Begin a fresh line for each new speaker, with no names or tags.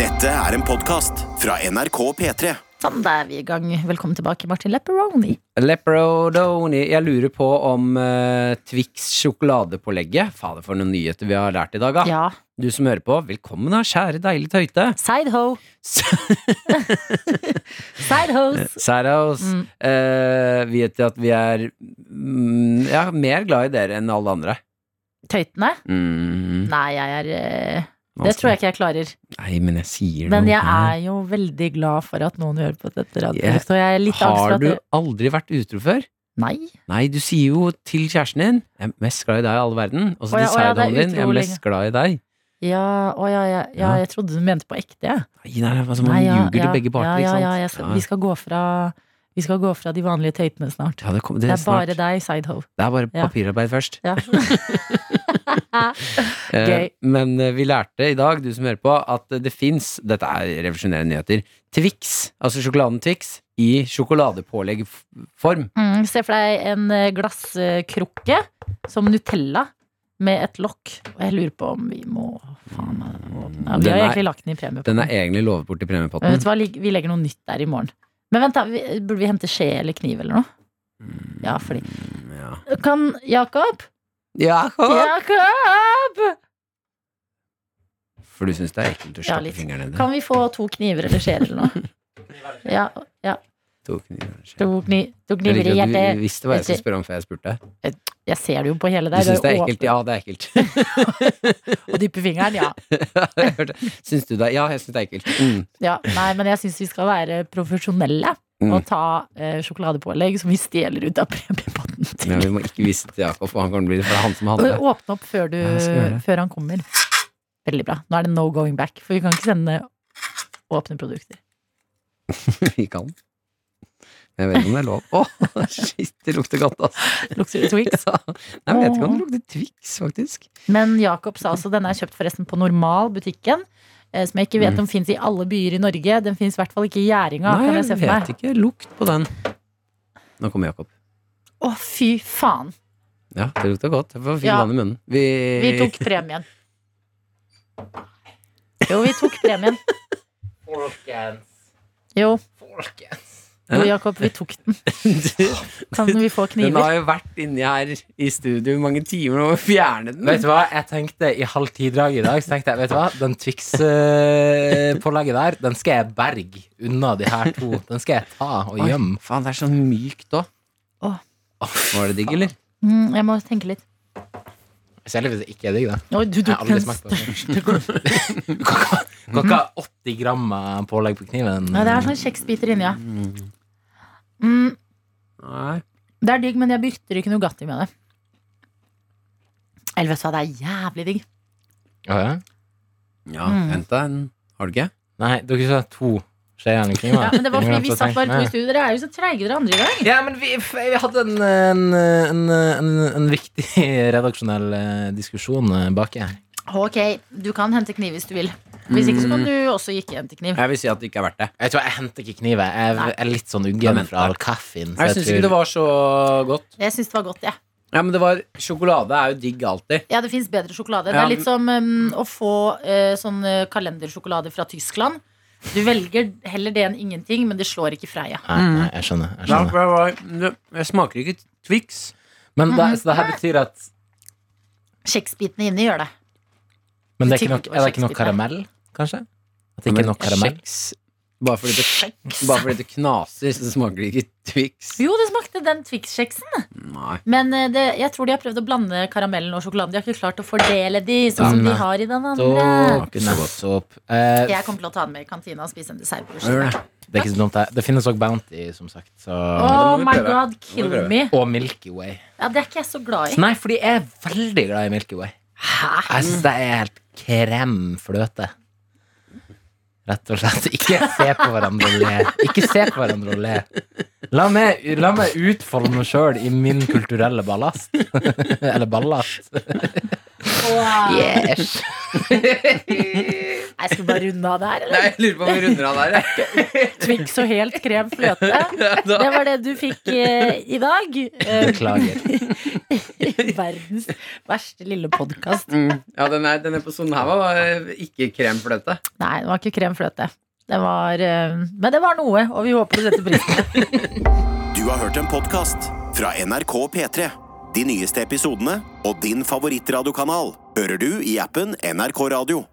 Dette er en podcast fra NRK P3.
Sånn, da er vi i gang. Velkommen tilbake, Martin Lepperoni.
Leperodoni. Jeg lurer på om eh, Twix sjokoladepålegget Fader, for noen nyheter vi har lært i dag, da.
Ja.
Du som hører på, velkommen da, kjære deilige tøyte.
Sideho. Sidehos.
Særaos.
Mm.
Eh, vet at vi er mm, ja, mer glad i dere enn alle andre.
Tøytene?
Mm,
Nei, jeg er eh, Det tror jeg ikke jeg klarer.
Nei, men jeg sier
Men
noe
jeg
her.
er jo veldig glad for at noen hører på dette
Jeg-
radioprogrammet. Og jeg er litt angst for
Har
at
du
det-
aldri vært utro før?
Nei.
Nei, du sier jo til kjæresten din 'Jeg er mest glad i deg i all verden', og
Å
så til
ja, å ja, det er
sædhoen din 'Jeg er
utro
mest glad i deg'.
Ja, å ja, ja, ja,
Ja.
jeg trodde du mente på ekte, jeg.
Nei, nei, nei, altså, man
Nei, ja,
ljuger
ja,
til begge parter,
ja,
ikke sant?
Ja, ja, jeg, skal- vi, skal gå fra, vi skal gå fra de vanlige tøytene snart.
Ja, det, kom, det,
Det
er
er bare
snart.
deg, Sideho.
Det er bare
Ja.
papirarbeid først.
Ja.
Eh,
Gøy.
Men eh, vi lærte i dag, du som hører på, at eh, det fins Dette er revolusjonære nyheter. Twix, altså sjokoladen Twix, i sjokoladepåleggform.
Mm, se for deg en eh, glasskrukke som Nutella med et lokk. Og jeg lurer på om vi må faen meg åpne ja, Vi
Den
har
er-
egentlig lagt den i premie.
Den er egentlig lovet bort i premiepotten.
Vet du hva, lig- vi legger noe nytt der i morgen. Men vent, da. Vi, burde vi hente skje eller kniv eller noe? Ja, fordi
Ja.
Kan Jakob?
Jakob!
Jakob!
For du syns det er ekkelt å
Ja,
stappe
litt.
fingeren ned i?
Kan vi få to kniver eller skjeer eller noe? Ja, ja.
To kniver. skje.
To, kni, to
Jeg
kniver i
liker at Du
hjertet.
visste hva jeg skulle
Hjertet.
spørre om før jeg spurte.
Jeg ser det jo på hele
Du
deg.
syns det er
jo
ekkelt? Ja, det er ekkelt.
åpen- Og dyppe fingeren, ja.
Jeg hørte- syns du det? er- Ja, jeg syns det er ekkelt. Mm.
ja. Nei, men jeg syns vi skal være profesjonelle
Mm.
og ta eh, sjokoladepålegg som vi stjeler ut av premiepotten
Men
til.
vi må ikke vise det til Jakob, for han kommer til å bli det, for det er han som
Og
handler.
åpne opp før, du,
Ja, jeg skal gjøre det.
før han kommer. Veldig bra. Nå er det no going back, for vi kan ikke sende åpne produkter.
Vi kan. Jeg vet ikke om det er lov. Åh, shit, det lukter godt, altså.
Lukter det Twix?
Ja. Nei, men jeg vet ikke om det lukter Twix, faktisk.
Men Jakob sa også denne er kjøpt forresten på Normalbutikken. eh, Som jeg ikke
Mm.
vet om fins i alle byer i Norge. Den fins i hvert fall ikke i Gjæringa.
Nei,
kan jeg se
jeg
for meg.
vet ikke. Lukt på den. Nå kommer Jakob.
Å, fy faen!
Ja, det lukter godt. Jeg får fin
Ja.
vann i munnen. Vi,
Vi tok premien. Jo, vi tok premien. Jo. Jo, Jakob, vi tok den. Kan vi få
Den
kniver?
har jo vært inni her i studio i mange timer nå og fjernet den.
Vet du hva, jeg tenkte i halv ti-draget i dag Så tenkte jeg, vet du hva, den Twix-pålegget der Den skal jeg berge unna de her to Den skal jeg ta og
Oi,
gjemme
faen, det er sånn mykt òg.
Åh.
Var det digg, eller?
Mm, jeg må tenke litt.
Selv hvis det ikke er digg da
Oi, du
Jeg
tok
har aldri
den
smakt på det.
største kniven.
Du kan ikke ha 80 gram av pålegg på kniven
Nei, Det er sånn kjeksbiter inni, ja. Mm,
Nei.
det er digg, men jeg byrter ikke Nugatti med det. Eller vet du hva, det er jævlig digg.
Å, ja?
Ja,
Mm.
hent deg en. Har du ikke?
Nei, dere sa to skjeer i kniven
Ja, men det var fordi vi
Jeg
satt
tenkte,
bare to
nei.
i studio. Dere er jo så treige dere andre i dag.
Ja, men vi, f- vi hadde en, en, en, en, en viktig redaksjonell eh, diskusjon eh, baki her
Ok, du kan hente kniv hvis du vil. Hvis ikke så kan du også ikke hente kniv.
Jeg vil si at det ikke er verdt det.
Jeg tror jeg henter ikke knivet Jeg
Nei.
er litt sånn
Jeg
uggen
venter.
fra all kaffen
Jeg syns ikke det var så godt.
Jeg syns det var godt, jeg. Ja.
Ja, men det var Sjokolade er jo digg alltid.
Ja, det fins bedre sjokolade. Det
Ja,
er litt som um, å få eh, sånn eh, kalendersjokolade fra Tyskland. Du velger heller det enn ingenting, men det slår ikke Freia.
Nei, nei,
Mm.
jeg skjønner. Jeg skjønner.
jeg smaker ikke Twix.
Men det, så det
Mm.
her betyr at
Kjeksbitene inni gjør det.
Men det er, ikke
Tykk
nok,
og
er det ikke nok
kjeksbit,
karamell, kanskje? At det ikke er nok karamell?
Bare fordi det, bare fordi det knaser, så smaker det ikke Twix.
Jo, det smakte den Twix-kjeksen.
Nei.
Men eh, det, jeg tror de har prøvd å blande karamellen og sjokoladen. De har ikke klart å fordele de sånn som
Nei.
de har i den
Så,
andre.
ikke så godt.
nettopp. Eh,
Jeg kommer til å ta den med i kantina og spise en dessert. på
Gjør
slutten.
det.
det er ikke så dumt, det. Det finnes også Bounty, som sagt. Så.
Oh
vi
my
prøve.
god,
Det må vi
kill
prøve.
me.
Og Milky Way.
Ja, Det er ikke jeg så glad i.
Nei, fordi jeg er veldig glad i Milky Way.
Hæ?
Jeg syns det er helt krem fløte. Rett og slett. Ikke se på hverandre og le. Ikke se på hverandre og le. La meg, la meg utfolde meg sjøl i min kulturelle ballast. Eller ballast.
Åh.
Yes.
Nei, Skal vi bare runde av der, eller?
Nei, jeg lurer på om vi runder av der. jeg.
Twix og helt krem fløte.
Da-
Det var det du fikk eh, i dag. Eh,
Beklager.
Verdens verste lille podkast.
Mm. Ja, den, er, den episoden her var eh, ikke krem for dette.
Nei, det var ikke krem fløte. Det var, eh, men det var noe, og vi håper du setter pris på det.
Du har hørt en podcast fra NRK P3. De nyeste episodene og din favorittradiokanal hører du i appen NRK Radio.